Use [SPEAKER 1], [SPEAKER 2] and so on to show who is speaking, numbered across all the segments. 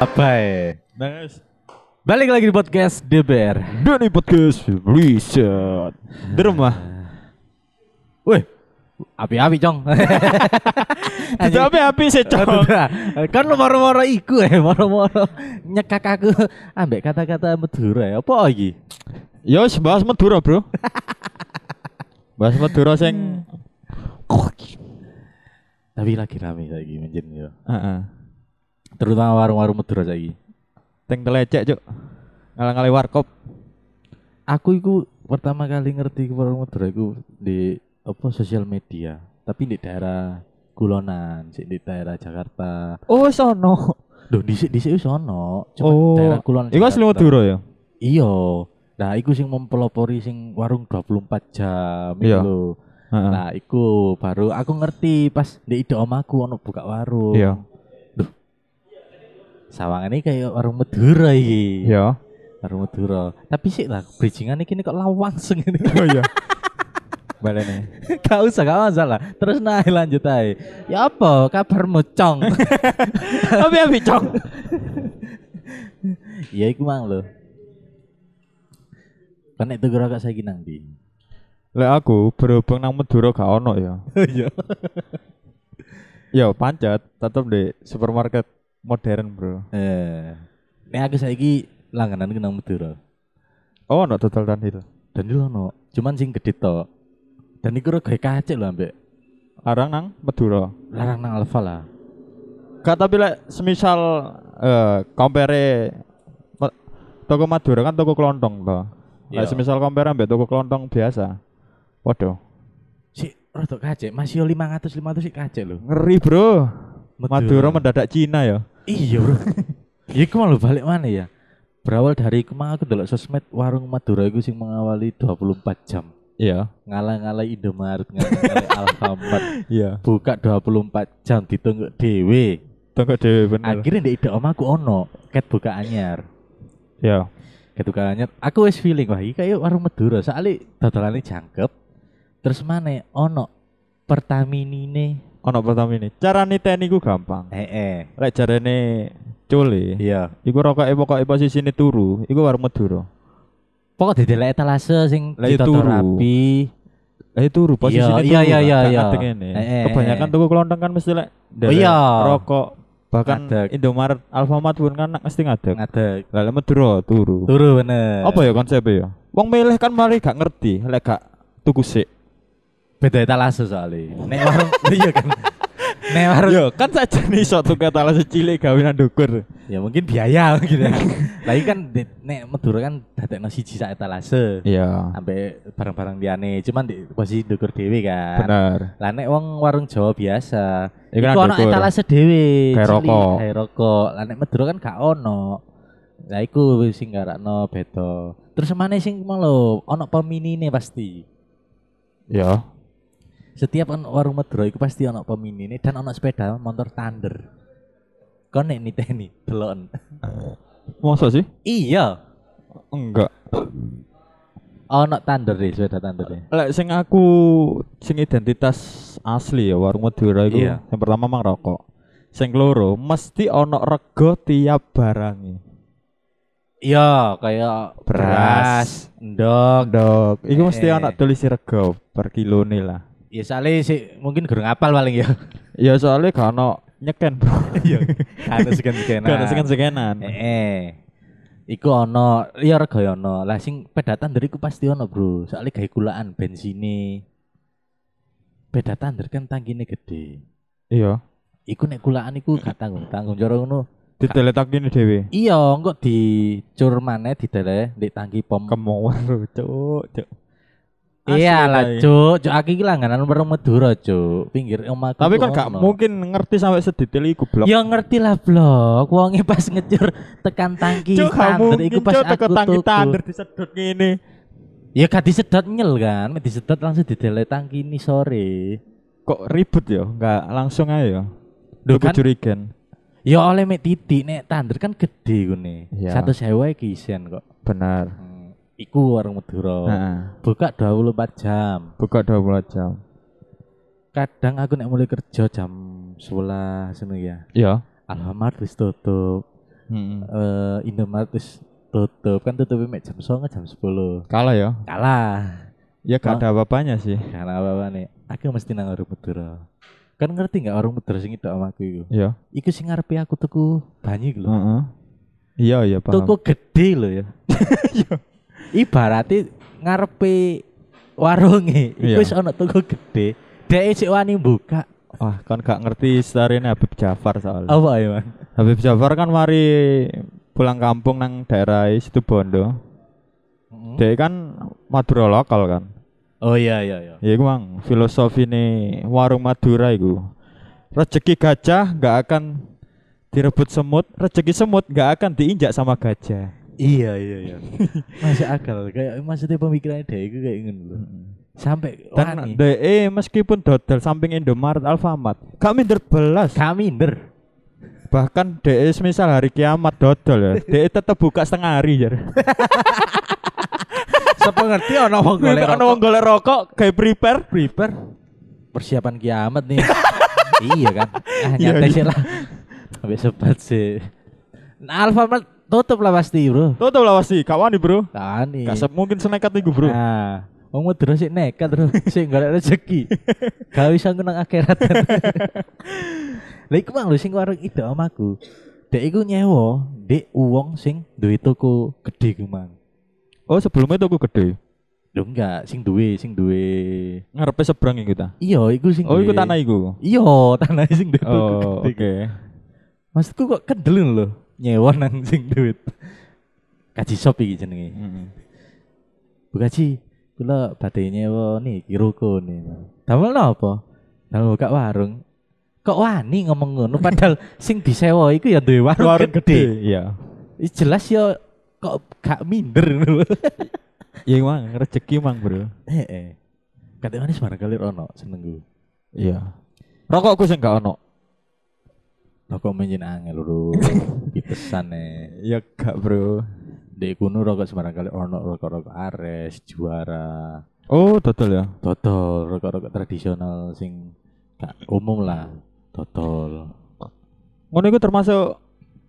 [SPEAKER 1] Abai. Terus balik lagi di podcast DBR.
[SPEAKER 2] Doni Podcast Reset Di rumah
[SPEAKER 1] Wih, api-api cong. Anjing.
[SPEAKER 2] Tapi api sih
[SPEAKER 1] Aduh,
[SPEAKER 2] cok
[SPEAKER 1] dah. kan lu moro-moro iku eh, moro-moro nyekak aku ambek kata-kata Madura ya. Apa lagi?
[SPEAKER 2] Yo Ya, bahas Madura bro Bahas Madura sing Hmm.
[SPEAKER 1] Tapi lagi rame lagi menjen yo.
[SPEAKER 2] Heeh.
[SPEAKER 1] Terutama warung-warung Madura lagi.
[SPEAKER 2] Teng telecek cok Ngalang-ngalang warkop
[SPEAKER 1] Aku iku pertama kali ngerti warung Madura iku di apa sosial media, tapi di daerah Kulonan, sik di daerah Jakarta.
[SPEAKER 2] Oh sono
[SPEAKER 1] Duh, dhisik dhisik wis ono. Cuma
[SPEAKER 2] Oh
[SPEAKER 1] daerah Kulonan.
[SPEAKER 2] Iku asli
[SPEAKER 1] Jakarta.
[SPEAKER 2] Madura ya
[SPEAKER 1] Iya. Nah, iku sing mempelopori sing warung 24 jam
[SPEAKER 2] Iya.
[SPEAKER 1] iku lho.
[SPEAKER 2] Heeh.
[SPEAKER 1] Nah, iku baru aku ngerti pas di ide omaku ono buka warung.
[SPEAKER 2] Iya
[SPEAKER 1] Sawangan ini kayak warung Madura iki.
[SPEAKER 2] Iya
[SPEAKER 1] Warung Madura. Tapi sih lah bridgingan iki kok lawang sing ini.
[SPEAKER 2] Oh iya Balene
[SPEAKER 1] gak usah, gak masalah. Terus nah lanjut aja. Ya apa kabarmu, Cong?
[SPEAKER 2] Api-api cok
[SPEAKER 1] ya iku mang lho. Kan itu gerak gak saiki nang ndi?
[SPEAKER 2] Lek aku berhubung nang Madura gak ono ya
[SPEAKER 1] Iya.
[SPEAKER 2] Yo pancet tetep di supermarket modern bro
[SPEAKER 1] Eh. Nek aku saiki langganan ke nang Madura.
[SPEAKER 2] Oh ono total Dunhill
[SPEAKER 1] Dan itu ono, cuman sing gede tok. Dan iku rego kacik lho ambek
[SPEAKER 2] Arang nang Madura
[SPEAKER 1] larang nang Alfa lah.
[SPEAKER 2] Kak tapi lek semisal eh compare ma- toko Madura kan toko kelontong toh. Lek
[SPEAKER 1] Iya.
[SPEAKER 2] semisal compare ambek toko kelontong biasa. Waduh,
[SPEAKER 1] Si rada kacik, masih 500 500 sik kacik lho.
[SPEAKER 2] ngeri bro.
[SPEAKER 1] Madura.
[SPEAKER 2] Madura mendadak Cina ya.
[SPEAKER 1] Iya, Bro. ya iku malah balik mana ya? Berawal dari iku mang aku delok sosmed warung Madura iku sing mengawali 24 jam.
[SPEAKER 2] Iya.
[SPEAKER 1] Ngalah-ngalah Indomaret, ngalah-ngalah Alfamart.
[SPEAKER 2] Iya.
[SPEAKER 1] Buka 24 jam ditunggu dewe.
[SPEAKER 2] Toko dhewe bener.
[SPEAKER 1] Akhirnya ndek ide omaku ono ket buka anyar.
[SPEAKER 2] Iya.
[SPEAKER 1] ketukangannya Gitu kan. aku wis feeling wah iki kayak warung Madura soalnya dadolannya jangkep terus mana ono Pertaminine
[SPEAKER 2] Ono pertama ini. Cara niteni ku gampang.
[SPEAKER 1] eh eh
[SPEAKER 2] Lek jarane cule,
[SPEAKER 1] iya
[SPEAKER 2] iku rokoke pokoke posisine turu, iku warung Madura.
[SPEAKER 1] pokok didelek etalase sing
[SPEAKER 2] Lah, iya,
[SPEAKER 1] ditata
[SPEAKER 2] turu.
[SPEAKER 1] rapi
[SPEAKER 2] Eh turu posisine turu.
[SPEAKER 1] iya, iya, iya,
[SPEAKER 2] gak
[SPEAKER 1] iya.
[SPEAKER 2] ngadeg ngene.
[SPEAKER 1] Eh, eh,
[SPEAKER 2] Kebanyakan
[SPEAKER 1] eh.
[SPEAKER 2] toko kelontong kan mesti lek
[SPEAKER 1] Oh, iya.
[SPEAKER 2] rokok bahkan
[SPEAKER 1] Ngadeg.
[SPEAKER 2] Indomaret, Alfamart pun kan mesti ngadeg.
[SPEAKER 1] ngadeg
[SPEAKER 2] Lah lek Madura turu.
[SPEAKER 1] turu bener
[SPEAKER 2] Apa ya konsepnya ya? Wong milih kan mari gak ngerti, lek gak tuku sik.
[SPEAKER 1] beda etalase soalnya nek warung iya kan nek warung
[SPEAKER 2] Yo, kan saja nih sok tuku talase cilik gawean ndukur.
[SPEAKER 1] ya mungkin biaya gitu ya lagi kan di- nek Madura kan dadekno siji sak etalase
[SPEAKER 2] Iya.
[SPEAKER 1] sampai barang-barang liane cuman di posisi ndukur dhewe kan
[SPEAKER 2] Bener.
[SPEAKER 1] Lah nek wong warung Jawa biasa,
[SPEAKER 2] Iku
[SPEAKER 1] iku
[SPEAKER 2] kan
[SPEAKER 1] ono
[SPEAKER 2] ndukur.
[SPEAKER 1] etalase dhewe,
[SPEAKER 2] Kayak
[SPEAKER 1] cilik,
[SPEAKER 2] rokok.
[SPEAKER 1] kayak rokok. Lah nek Madura kan gak ono. Lah iku sing garakno beda. Terus mana sing mau lho, ono peminine pasti.
[SPEAKER 2] Iya.
[SPEAKER 1] Setiap on- warung Madura iku pasti ono peminine dan ono sepeda motor Thunder. Kon nek niteni delon.
[SPEAKER 2] Masa sih?
[SPEAKER 1] iya,
[SPEAKER 2] Enggak.
[SPEAKER 1] ono Thunder deh, sepeda Thunder deh.
[SPEAKER 2] Lek sing aku sing identitas asli ya warung Madura iku.
[SPEAKER 1] Iya.
[SPEAKER 2] Yang pertama mang rokok. Sing keloro mesti ono rego tiap barangnya.
[SPEAKER 1] Iya, kayak
[SPEAKER 2] Beras.
[SPEAKER 1] endog.
[SPEAKER 2] Dok, iku mesti
[SPEAKER 1] Eh.
[SPEAKER 2] ono tulisi rego per kilone lah.
[SPEAKER 1] Ya soalnya sih mungkin gerung apal paling ya.
[SPEAKER 2] Ya soalnya gak ono nyeken, Bro.
[SPEAKER 1] Iya, kan segan-seganan.
[SPEAKER 2] Gak ono seken-sekenan.
[SPEAKER 1] Eh, eh. Iku ono, iya rego ya ono. Lah sing pedatan dari iku pasti ono, Bro. Soale gawe kulaan bensine. Pedatan dari kan tangkine gede.
[SPEAKER 2] Iya.
[SPEAKER 1] Iku nek kulaan iku gak tanggung-tanggung cara ngono.
[SPEAKER 2] Diteletak gini dhewe.
[SPEAKER 1] Iya, engko dicur maneh didele ndek tangki pom.
[SPEAKER 2] Kemauan lu, cuk, cuk. Asli,
[SPEAKER 1] Iya lah,
[SPEAKER 2] Tay.
[SPEAKER 1] Cuk. Cuk aku iki langganan warung Madura, Cuk. Pinggir omahku.
[SPEAKER 2] Tapi
[SPEAKER 1] tuh
[SPEAKER 2] kan gak
[SPEAKER 1] ono.
[SPEAKER 2] mungkin ngerti sampai sedetail iku blok.
[SPEAKER 1] Ya ngerti lah blok, wonge pas ngecur tekan tangki
[SPEAKER 2] Cuk, gak
[SPEAKER 1] Thunder
[SPEAKER 2] mungkin
[SPEAKER 1] Iya, iku pas
[SPEAKER 2] cuk teko
[SPEAKER 1] aku
[SPEAKER 2] tangi
[SPEAKER 1] tuku.
[SPEAKER 2] tandur disedot ngene.
[SPEAKER 1] Ya gak disedot nyel kan, mek disedot langsung didele tangki ini sore.
[SPEAKER 2] Kok ribet ya? Gak langsung aja ya.
[SPEAKER 1] Duh,
[SPEAKER 2] Aku
[SPEAKER 1] kan-
[SPEAKER 2] curigen.
[SPEAKER 1] Ya oleh mek titik nek tandur kan gede ngene.
[SPEAKER 2] Iya.
[SPEAKER 1] Satu sewa iki isen kok.
[SPEAKER 2] Benar.
[SPEAKER 1] Hmm, Iku warung Madura.
[SPEAKER 2] Heeh.
[SPEAKER 1] Buka 24 jam.
[SPEAKER 2] Oh. Buka 20 jam.
[SPEAKER 1] Kadang aku nek mulai kerja jam 11 ngono ya.
[SPEAKER 2] Iya.
[SPEAKER 1] Alfamart wis tutup.
[SPEAKER 2] Heeh.
[SPEAKER 1] eh Indomaret wis tutup kan tutupnya mek jam 09.00 jam 10
[SPEAKER 2] Kalah ya.
[SPEAKER 1] kalah
[SPEAKER 2] Ya
[SPEAKER 1] Oh.
[SPEAKER 2] gak ada apa-apanya sih.
[SPEAKER 1] karena apa apa nih aku mesti nang warung Madura kan ngerti nggak warung Madura sing itu sama aku itu
[SPEAKER 2] Ya.
[SPEAKER 1] iku sing ngarepe aku tuku banyu iku lho
[SPEAKER 2] Heeh. Iya iya paham.
[SPEAKER 1] toko gede loh ya. Ibaratnya ngarepe warunge
[SPEAKER 2] Iya.
[SPEAKER 1] iku wis ana toko gede. Dek sik wani buka.
[SPEAKER 2] Wah, kan gak ngerti starine Habib Jafar soalnya.
[SPEAKER 1] Apa ya, Bang?
[SPEAKER 2] Habib Jafar kan mari pulang kampung nang daerah Situbondo. Dia kan Madura lokal kan.
[SPEAKER 1] Oh iya iya iya.
[SPEAKER 2] Ya iku mang filosofi nih warung Madura iku. Rezeki gajah nggak akan direbut semut, rezeki semut nggak akan diinjak sama gajah.
[SPEAKER 1] Iya iya iya. Masih akal kayak maksudnya pemikirannya dek iku kayak ngono lho. Sampai
[SPEAKER 2] Dan
[SPEAKER 1] wani.
[SPEAKER 2] DE meskipun dodol samping Indomaret Alfamart, kami terbelas.
[SPEAKER 1] Kami nder.
[SPEAKER 2] Bahkan DE semisal hari kiamat dodol ya, DE tetap buka setengah hari ya.
[SPEAKER 1] Sepengerti ana wong golek
[SPEAKER 2] Ono wong
[SPEAKER 1] rokok.
[SPEAKER 2] golek rokok, kayak prepare.
[SPEAKER 1] Prepare persiapan kiamat nih. iya kan. Ah
[SPEAKER 2] Iya,
[SPEAKER 1] nyantai
[SPEAKER 2] iya.
[SPEAKER 1] sih lah. Sampai sebat sih. Nah, Alfamart tutup lah pasti, Bro.
[SPEAKER 2] Tutup lah wasi, kawan bro.
[SPEAKER 1] Tani.
[SPEAKER 2] Gak se- mungkin senekat nih bro.
[SPEAKER 1] Iya. Nah, wong Madura sik nekat terus sik golek rezeki. Gak bisa ngenang akhirat. Lah iku mang lho sing warung ide sama aku. Dek iku nyewa dek uwong sing duwe toko gede ku mang.
[SPEAKER 2] Oh sebelumnya tuh gede,
[SPEAKER 1] Lho enggak, sing duwe, sing duwe.
[SPEAKER 2] ngarepe seberang iku ta.
[SPEAKER 1] Iya, iku sing
[SPEAKER 2] Oh iku
[SPEAKER 1] duwe.
[SPEAKER 2] tanah iku.
[SPEAKER 1] Iya, tanah sing duwe toko
[SPEAKER 2] Oh,
[SPEAKER 1] gede.
[SPEAKER 2] oke.
[SPEAKER 1] Maksudku kok kendel lho nyewa nang sing duit. Kaji shop iki jenenge.
[SPEAKER 2] Mm.
[SPEAKER 1] Bu Kaji, kula badhe nyewa niki ruko niku. Damel napa? Damel buka warung. Kok wani ngomong ngono padahal sing disewa iku ya duwe warung,
[SPEAKER 2] Warung
[SPEAKER 1] gede.
[SPEAKER 2] gede, iya.
[SPEAKER 1] Ih, Jelas ya kok gak minder ngono lho.
[SPEAKER 2] Iya mang, rezeki mang bro.
[SPEAKER 1] Heeh. Kate manis bareng kali ono senengku.
[SPEAKER 2] Iya. Rokokku sing gak ono.
[SPEAKER 1] Lah kok menjen angel lho. Pitesan e.
[SPEAKER 2] Iya gak bro.
[SPEAKER 1] Dek kuno rokok sembarang kali ono rokok-rokok Ares, juara,
[SPEAKER 2] Oh total ya.
[SPEAKER 1] dodol, rokok-rokok tradisional sing gak umum lah. Dodol.
[SPEAKER 2] Ngono iku termasuk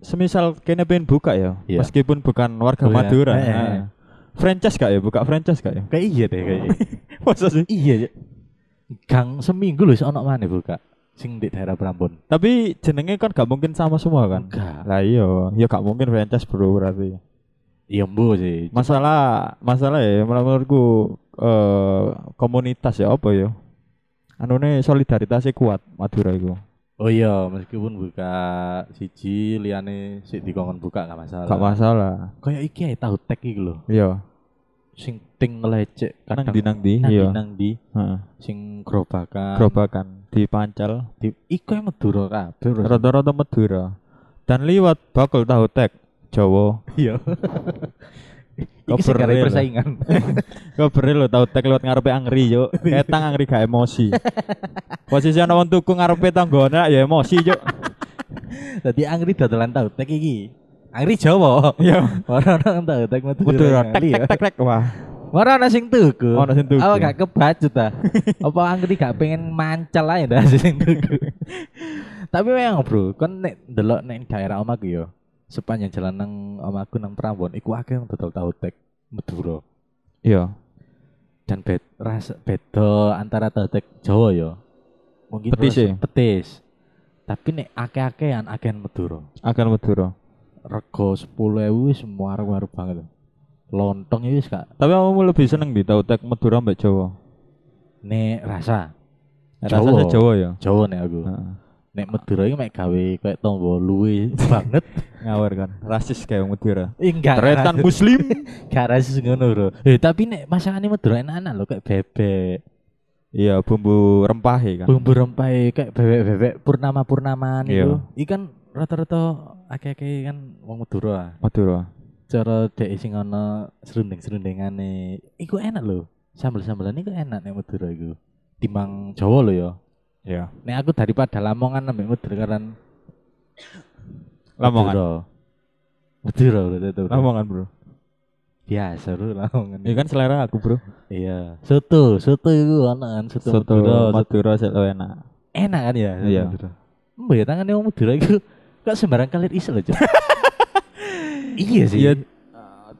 [SPEAKER 2] semisal kene pengen buka ya,
[SPEAKER 1] Iya.
[SPEAKER 2] meskipun bukan warga
[SPEAKER 1] Bukan,
[SPEAKER 2] Madura.
[SPEAKER 1] eh,
[SPEAKER 2] Heeh. Franchise gak ya? Buka franchise gak ya?
[SPEAKER 1] Kayak iya deh kayak.
[SPEAKER 2] Masa sih?
[SPEAKER 1] Iya, Cuk. gang seminggu lho ono maneh buka sing di daerah Prambon.
[SPEAKER 2] Tapi jenenge kan gak mungkin sama semua kan?
[SPEAKER 1] Enggak.
[SPEAKER 2] Lah iya, ya gak mungkin franchise bro berarti.
[SPEAKER 1] Iya mbo sih.
[SPEAKER 2] Masalah masalah ya menurutku eh komunitas ya apa ya? Anune solidaritasnya kuat Madura iku.
[SPEAKER 1] Oh iya, meskipun buka siji liyane sik dikongkon buka gak masalah.
[SPEAKER 2] Gak masalah.
[SPEAKER 1] Kayak iki ae tahu tek iki lho.
[SPEAKER 2] Iya.
[SPEAKER 1] Sing ting ngelecek kadang
[SPEAKER 2] Nang di nang di,
[SPEAKER 1] nang di,
[SPEAKER 2] iya.
[SPEAKER 1] nang di.
[SPEAKER 2] Heeh.
[SPEAKER 1] sing gerobakan.
[SPEAKER 2] Gerobakan di Pancal.
[SPEAKER 1] Di, iku yang Madura kabeh. Bro.
[SPEAKER 2] Rata-rata Madura. Dan liwat bakul tahu tek Jawa.
[SPEAKER 1] Iya. Iki sing
[SPEAKER 2] Koper
[SPEAKER 1] gara
[SPEAKER 2] real.
[SPEAKER 1] persaingan.
[SPEAKER 2] Kabeh lo tahu tek liwat ngarepe angri yo. Ketang angri gak emosi. Posisi ana wong tuku ngarepe tanggone ya emosi yo.
[SPEAKER 1] Dadi angri dodolan tahu tek iki. Angri Jawa.
[SPEAKER 2] Iya.
[SPEAKER 1] Orang-orang tahu tek Madura.
[SPEAKER 2] Madura tek
[SPEAKER 1] Ngali ya.
[SPEAKER 2] tek tek tek wah.
[SPEAKER 1] Ora ana sing tuku.
[SPEAKER 2] Ora sing tuku.
[SPEAKER 1] Apa gak kebacut ta? Apa angkri gak pengen mancal ae ta sing tuku. Tapi memang bro, kon nek delok nek daerah omaku yo. Sepanjang jalan nang omaku nang Prambon iku akeh yang dodol tahu tek Madura
[SPEAKER 2] Iya.
[SPEAKER 1] dan bed rasa beda antara tahu tek Jawa yo. Mungkin
[SPEAKER 2] Petis
[SPEAKER 1] rasa-
[SPEAKER 2] ya?
[SPEAKER 1] petis. Tapi nek akeh-akean akehan Madura.
[SPEAKER 2] Akan Madura.
[SPEAKER 1] Rego 10.000 wis muar-muar banget. Lontong itu wis gak
[SPEAKER 2] Tapi kamu lebih seneng di tahu tek Madura mbak Jawa.
[SPEAKER 1] nek rasa
[SPEAKER 2] Rasanya
[SPEAKER 1] Jawa.
[SPEAKER 2] Jawa ya.
[SPEAKER 1] Jawa nek aku.
[SPEAKER 2] Heeh.
[SPEAKER 1] Nek Madura iki mek gawe kayak tombo luwe banget.
[SPEAKER 2] Ngawur kan. Rasis kayak Madura.
[SPEAKER 1] Ih, Enggak.
[SPEAKER 2] Tretan Muslim.
[SPEAKER 1] Enggak rasis ngono, Bro. Eh, tapi nek masakane Madura enak-enak lho kayak bebek.
[SPEAKER 2] Iya bumbu rempah ya kan.
[SPEAKER 1] Bumbu rempahe kayak bebek-bebek purnama-purnamaan
[SPEAKER 2] Iya.
[SPEAKER 1] itu. Iki kan rata-rata akeh-akeh kan wong Madura.
[SPEAKER 2] Madura.
[SPEAKER 1] Cara dek sing ana serundeng-serundengane iku enak lho. Sambel-sambelane iku enak nek Madura iku. Timbang Jawa lho ya.
[SPEAKER 2] Iya.
[SPEAKER 1] Nek aku daripada Lamongan ambek Madura karan
[SPEAKER 2] Lamongan.
[SPEAKER 1] Madura. Madura bro, tetep.
[SPEAKER 2] Lamongan kan, bro.
[SPEAKER 1] Biasa bro Lamongan.
[SPEAKER 2] Iya kan selera aku bro.
[SPEAKER 1] Iya. Soto, soto itu ana kan soto,
[SPEAKER 2] Soto
[SPEAKER 1] Madura. Soto-
[SPEAKER 2] Madura soto enak.
[SPEAKER 1] Enak kan ya? soto
[SPEAKER 2] Iya.
[SPEAKER 1] Madura. Mbak ya tangannya wong Madura itu kok sembarang kalir iso loh, Cuk. iya sih.
[SPEAKER 2] Iya.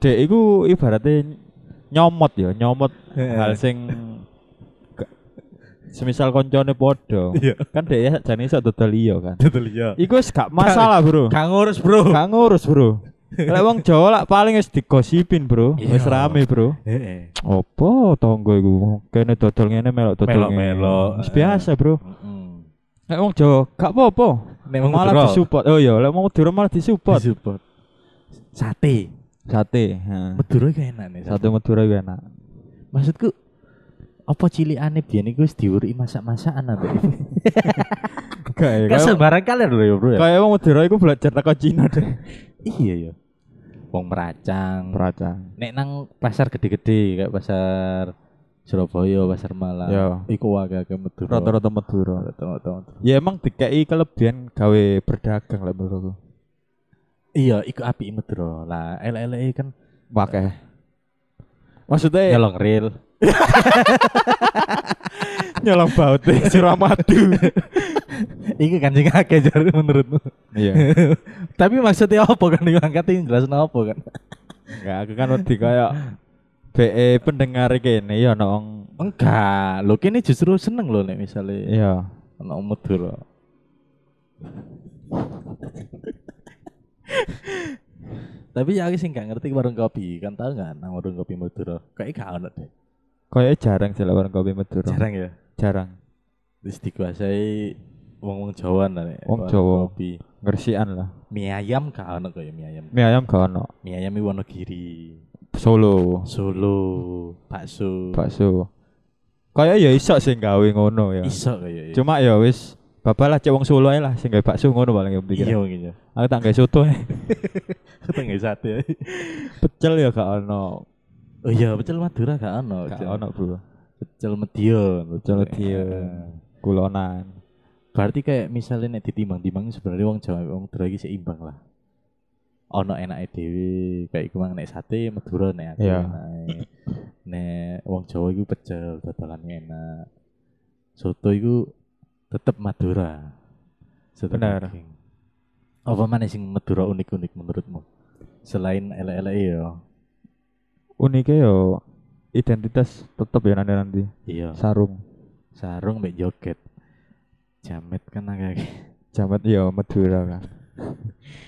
[SPEAKER 2] Dek iku ibaratnya nyomot ya, nyomot
[SPEAKER 1] Heeh.
[SPEAKER 2] hal sing ke- semisal koncone podo
[SPEAKER 1] Iya.
[SPEAKER 2] kan dek ya jane iso dodol iya kan.
[SPEAKER 1] Betul ya.
[SPEAKER 2] Iku wis gak masalah, Bro.
[SPEAKER 1] Gak ngurus, Bro.
[SPEAKER 2] Gak ngurus, Bro. Lek wong Jawa lak paling wis digosipin, Bro.
[SPEAKER 1] Iya.
[SPEAKER 2] Wis rame, Bro.
[SPEAKER 1] Heeh.
[SPEAKER 2] Opo tonggo iku kene dodol ngene melok dodol ngene.
[SPEAKER 1] Melok-melok.
[SPEAKER 2] Wis biasa, Bro.
[SPEAKER 1] Heeh.
[SPEAKER 2] Lek wong Jawa gak apa-apa.
[SPEAKER 1] Nek wong
[SPEAKER 2] Malah
[SPEAKER 1] Madura,
[SPEAKER 2] disupport. Oh iya, lek wong Madura malah disupport.
[SPEAKER 1] disupport. Sate.
[SPEAKER 2] Sate, ha.
[SPEAKER 1] Madura iku enak nih. Sate.
[SPEAKER 2] Sate Madura iku enak.
[SPEAKER 1] Maksudku apa cili aneh biyen iku wis diuri masak-masakan apa?
[SPEAKER 2] ya, Kayak
[SPEAKER 1] Kan sembarang kalian lho ya, Bro ya.
[SPEAKER 2] Kayak wong Madura iku belajar teko Cina deh.
[SPEAKER 1] Iya ya. Wong meracang.
[SPEAKER 2] Peracang.
[SPEAKER 1] Nek nang pasar gede-gede kayak pasar Surabaya, pasar Malang.
[SPEAKER 2] Ya.
[SPEAKER 1] Iku agak ke Madura.
[SPEAKER 2] Rata-rata Madura.
[SPEAKER 1] Rata-rata Madura.
[SPEAKER 2] Ya emang dikei kelebihan gawe berdagang lah menurutku.
[SPEAKER 1] Iya, iku api Madura. Lah, elek-eleke kan
[SPEAKER 2] Pakai. Maksudnya
[SPEAKER 1] nyolong ril.
[SPEAKER 2] nyolong baut deh suramadu.
[SPEAKER 1] Iku kan sing akeh jar menurutmu.
[SPEAKER 2] Iya.
[SPEAKER 1] Tapi maksudnya apa kan iku angkatin jelas apa kan?
[SPEAKER 2] Enggak, aku kan wedi kayak BE eh, pendengar kene ya ono wong
[SPEAKER 1] Enggak, lho kene justru seneng lho nek misale
[SPEAKER 2] iya.
[SPEAKER 1] ana Madura. Tapi ya aku sih nggak ngerti warung kopi, kan tau nggak nang warung kopi Madura? Kayak gak ono deh.
[SPEAKER 2] Kayak jarang sih lah warung kopi Madura. Jarang.
[SPEAKER 1] ya. Wis dikuasai wong-wong Jawa lah nek.
[SPEAKER 2] Wong
[SPEAKER 1] warung
[SPEAKER 2] Jawa.
[SPEAKER 1] Kopi.
[SPEAKER 2] Ngersian lah.
[SPEAKER 1] Mie ayam gak ono kaya mie ayam.
[SPEAKER 2] Mie ayam gak ono.
[SPEAKER 1] Mie ayam iki Wonogiri.
[SPEAKER 2] Solo.
[SPEAKER 1] Solo, bakso.
[SPEAKER 2] Bakso. Kayak ya iso sih gawe ngono ya.
[SPEAKER 1] Iso kaya.
[SPEAKER 2] Cuma ya wis Bapak lah cek wong Solo ae lah sing gawe bakso ngono paling yang
[SPEAKER 1] iya
[SPEAKER 2] pikir.
[SPEAKER 1] mungkin ya.
[SPEAKER 2] Aku tak gawe soto ae.
[SPEAKER 1] Ketengah sate.
[SPEAKER 2] Pecel ya gak ono.
[SPEAKER 1] Oh iya, pecel Madura gak ono.
[SPEAKER 2] Gak
[SPEAKER 1] Pecel-
[SPEAKER 2] ono, Bro.
[SPEAKER 1] Pecel Medion.
[SPEAKER 2] Pecel Medion.
[SPEAKER 1] Heeh.
[SPEAKER 2] Kulonan.
[SPEAKER 1] Berarti kayak misalnya nek ditimbang-timbang sebenarnya wong Jawa wong Madura iki seimbang lah. Ono enake dhewe, kayak iku mang nek sate Madura nek aku
[SPEAKER 2] Iya.
[SPEAKER 1] enake. Nek wong Jawa iku pecel, dodolan enak. Soto iku tetep Madura. Soto
[SPEAKER 2] Bener.
[SPEAKER 1] daging. Apa mana sing Madura unik-unik menurutmu? Selain elek-elek ya.
[SPEAKER 2] Uniknya yo ya identitas tetep ya nanti nanti.
[SPEAKER 1] Iya.
[SPEAKER 2] Sarung.
[SPEAKER 1] Sarung mbek joget. Jamet kan agak
[SPEAKER 2] Jamet ya Madura kan.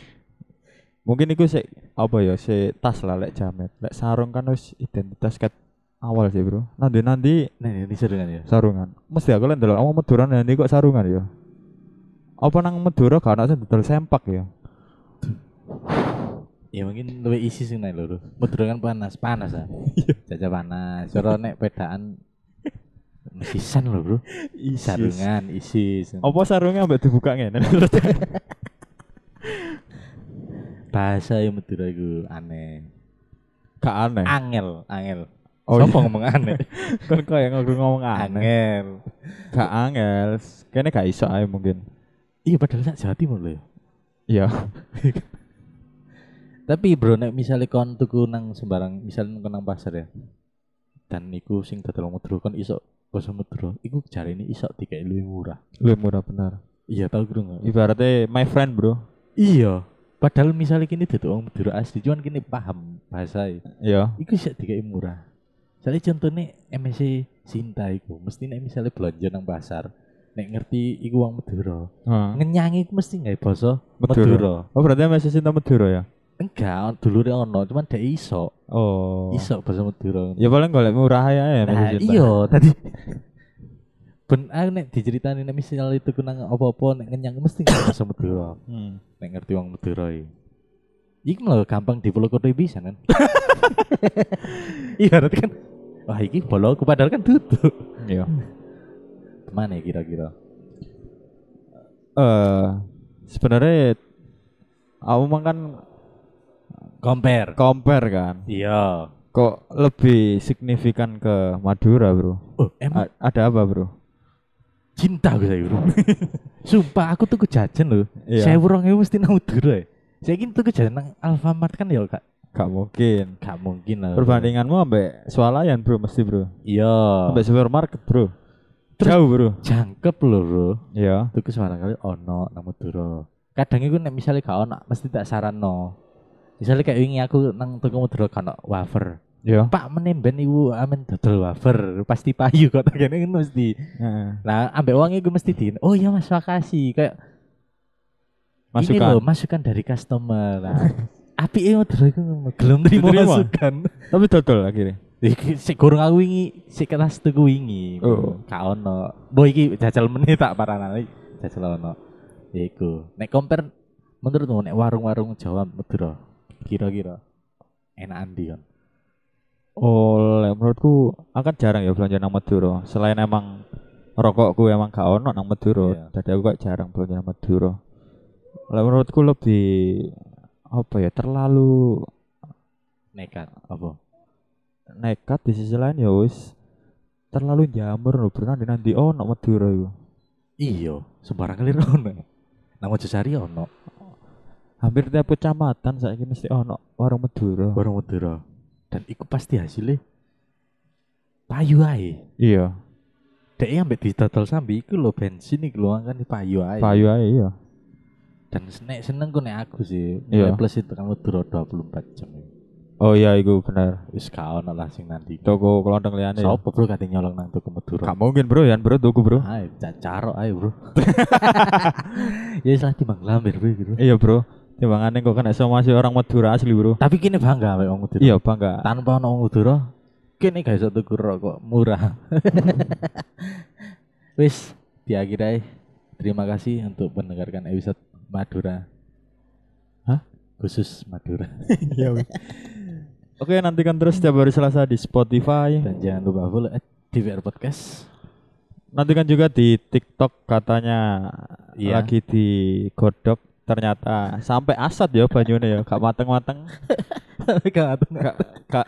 [SPEAKER 2] Mungkin iku sik apa ya sik tas lah lek jamet. Lek sarung kan wis identitas ket awal sih, Bro. Nanti-nanti
[SPEAKER 1] Nah, ini sarungan ya.
[SPEAKER 2] sarungan. Mesti aku lek ndelok omong Madura nanti kok sarungan ya. Apa nang Madura gak ana sing dodol sempak ya?
[SPEAKER 1] Ya mungkin lebih isi sih naik lho. Madura kan panas, panas ah. Caca panas. Cara nek pedaan mesisan lho, Bro. Sarungan isi.
[SPEAKER 2] Apa sarungnya ambek dibuka ngene?
[SPEAKER 1] Bahasa yang Madura iku aneh.
[SPEAKER 2] gak aneh.
[SPEAKER 1] Angel, angel.
[SPEAKER 2] Oh,
[SPEAKER 1] Sopo
[SPEAKER 2] iya.
[SPEAKER 1] ngomong aneh?
[SPEAKER 2] Kan kaya ngomong aneh.
[SPEAKER 1] angel.
[SPEAKER 2] Gak angel. Kene gak iso ae mungkin.
[SPEAKER 1] Iya padahal sak Jawa Timur lho ya.
[SPEAKER 2] Iya.
[SPEAKER 1] Tapi bro nek misalnya kon tuku nang sembarang, misalnya kon nang pasar ya. Dan iku sing dodol Madura kon iso basa Madura, iku jarine iso dikai luwih murah.
[SPEAKER 2] Lebih murah benar.
[SPEAKER 1] Iya tau krungu.
[SPEAKER 2] Ibaratnya my friend, Bro.
[SPEAKER 1] Iya. Padahal misalnya kini duduk orang Madura asli, cuman kini paham bahasa itu.
[SPEAKER 2] Iya.
[SPEAKER 1] Iku sih tiga murah. Soalnya contohnya MSC E Sinta iku, mesti nek misalnya belanja nang pasar, nek ngerti iku uang Madura,
[SPEAKER 2] Heeh.
[SPEAKER 1] ngenyangi iku mesti nggak basa
[SPEAKER 2] Madura.
[SPEAKER 1] Madura.
[SPEAKER 2] Oh berarti masih cinta Madura ya?
[SPEAKER 1] Enggak, dulure ono, cuman dek iso,
[SPEAKER 2] Oh.
[SPEAKER 1] iso basa Madura.
[SPEAKER 2] Ya paling golek murah ya ya
[SPEAKER 1] nah,
[SPEAKER 2] masih cinta.
[SPEAKER 1] iya tadi ben aku nek diceritain nek misalnya itu nang apa-apa nek ngenyang mesti nggak basa Madura.
[SPEAKER 2] Hmm.
[SPEAKER 1] Nek ngerti wong Madura iki. Iki malah gampang di Polokoto bisa kan. iya berarti kan. Wah iki Poloku padahal kan tutup.
[SPEAKER 2] Iya.
[SPEAKER 1] Mana ya kira-kira?
[SPEAKER 2] Eh sebenarnya aku mah kan
[SPEAKER 1] Compare.
[SPEAKER 2] compare kan.
[SPEAKER 1] Iya.
[SPEAKER 2] Kok lebih signifikan ke Madura, Bro?
[SPEAKER 1] Oh, emang
[SPEAKER 2] A- ada apa, Bro?
[SPEAKER 1] cinta gue saya bro. Sumpah aku tuh kejajan loh.
[SPEAKER 2] Iya.
[SPEAKER 1] Saya burung mesti nang Madura. ya. Saya kini tuh kejajan nang Alfamart kan ya kak.
[SPEAKER 2] Gak mungkin.
[SPEAKER 1] Gak mungkin lah. bro.
[SPEAKER 2] Perbandinganmu ambek swalayan, Bro, mesti, Bro.
[SPEAKER 1] Iya.
[SPEAKER 2] Ambek supermarket, Bro.
[SPEAKER 1] Terus-
[SPEAKER 2] Jauh, Bro.
[SPEAKER 1] Jangkep loh bro.
[SPEAKER 2] Iya.
[SPEAKER 1] Tuku sembarang kali ono nang Madura. Kadang iku nek misale gak ono mesti tak saranno. Misalnya kayak wingi aku nang toko modal kan wafer.
[SPEAKER 2] Yo.
[SPEAKER 1] Pak menemben ibu amin dodol wafer pasti payu kok tak kene ngono mesti. Nah, ambek uangnya gue mesti diin. Oh iya Mas, makasih. Kayak ini
[SPEAKER 2] Masukan.
[SPEAKER 1] loh, masukan dari customer. Nah, api eh modal iku ngono, gelem terima
[SPEAKER 2] Diterima.
[SPEAKER 1] masukan.
[SPEAKER 2] Tapi dodol akhirnya.
[SPEAKER 1] Iki sik gorong aku wingi, sik kelas tuku wingi.
[SPEAKER 2] Oh.
[SPEAKER 1] Ka ono. Mbok iki jajal meneh tak parana iki. Jajal ono. Iku. Nek compare menurutmu nek warung-warung Jawa Madura kira-kira enakan ndi kon?
[SPEAKER 2] Oh, lek menurutku akan jarang ya belanja nang Madura. Selain emang rokokku emang gak ono nang Madura.
[SPEAKER 1] Iya.
[SPEAKER 2] Jadi aku kok jarang belanja nang Madura. Lek menurutku lebih apa ya terlalu
[SPEAKER 1] Nekat apa?
[SPEAKER 2] nekat di sisi lain ya wis terlalu jamur lho pernah di nanti ono Madura iku.
[SPEAKER 1] Iya, sembarang kali ono. Nang Mojosari ono
[SPEAKER 2] Hampir tiap kecamatan saiki mesti ono warung Madura.
[SPEAKER 1] warung Madura. Dan iku pasti hasilnya payu ae.
[SPEAKER 2] Iya,
[SPEAKER 1] Dek ambek didodol sambi iku lho bensin iku lho kan payu ae.
[SPEAKER 2] payu ae iya.
[SPEAKER 1] dan nek seneng ku nek aku sih
[SPEAKER 2] Iya.
[SPEAKER 1] nilai plus itu kamu duro 24 jam
[SPEAKER 2] Oh iya iku bener.
[SPEAKER 1] wis gak ono lah sing nanti
[SPEAKER 2] Toko kelondeng liyane. ya.
[SPEAKER 1] sopo bro kate nyolong nang tuku Madura
[SPEAKER 2] Iya. Gak mungkin bro, ya bro tuku bro.
[SPEAKER 1] ayo cak carok ayo bro ya wis lah timbang lambir bro gitu.
[SPEAKER 2] Iya bro, timbangannya kok kena somasi orang Madura asli bro.
[SPEAKER 1] tapi kini bangga ambek wong Madura
[SPEAKER 2] Iya bangga.
[SPEAKER 1] tanpa ono wong Madura kini gak iso tuku rokok murah wis diakhiri ae. terima kasih untuk mendengarkan episode Madura
[SPEAKER 2] Hah?
[SPEAKER 1] khusus Madura
[SPEAKER 2] Iya. Oke nantikan terus setiap hari Selasa di Spotify.
[SPEAKER 1] dan jangan lupa follow at DVR Podcast
[SPEAKER 2] Nantikan juga di TikTok katanya
[SPEAKER 1] Iya.
[SPEAKER 2] lagi digodok ternyata sampai asat ya banyune ya gak mateng-mateng
[SPEAKER 1] Gak
[SPEAKER 2] gak gak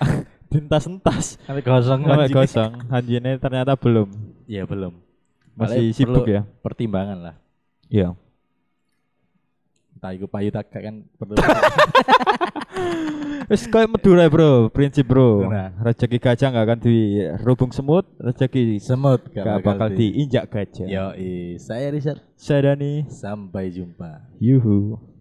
[SPEAKER 2] dintas-entas
[SPEAKER 1] Sampai gosong
[SPEAKER 2] sampai gosong hanjine ternyata belum
[SPEAKER 1] Ya belum.
[SPEAKER 2] masih
[SPEAKER 1] Makanya
[SPEAKER 2] sibuk
[SPEAKER 1] perlu
[SPEAKER 2] ya
[SPEAKER 1] Pertimbangan lah.
[SPEAKER 2] iya
[SPEAKER 1] Entah iku payu tak kan perlu.
[SPEAKER 2] Wis kayak Madura bro, prinsip bro.
[SPEAKER 1] Benar.
[SPEAKER 2] Rezeki gajah nggak akan dirubung semut, rezeki
[SPEAKER 1] Semut
[SPEAKER 2] nggak bakal Iya. diinjak gajah.
[SPEAKER 1] Yo, saya Richard.
[SPEAKER 2] Saya Dani,
[SPEAKER 1] Sampai jumpa.
[SPEAKER 2] yuhu.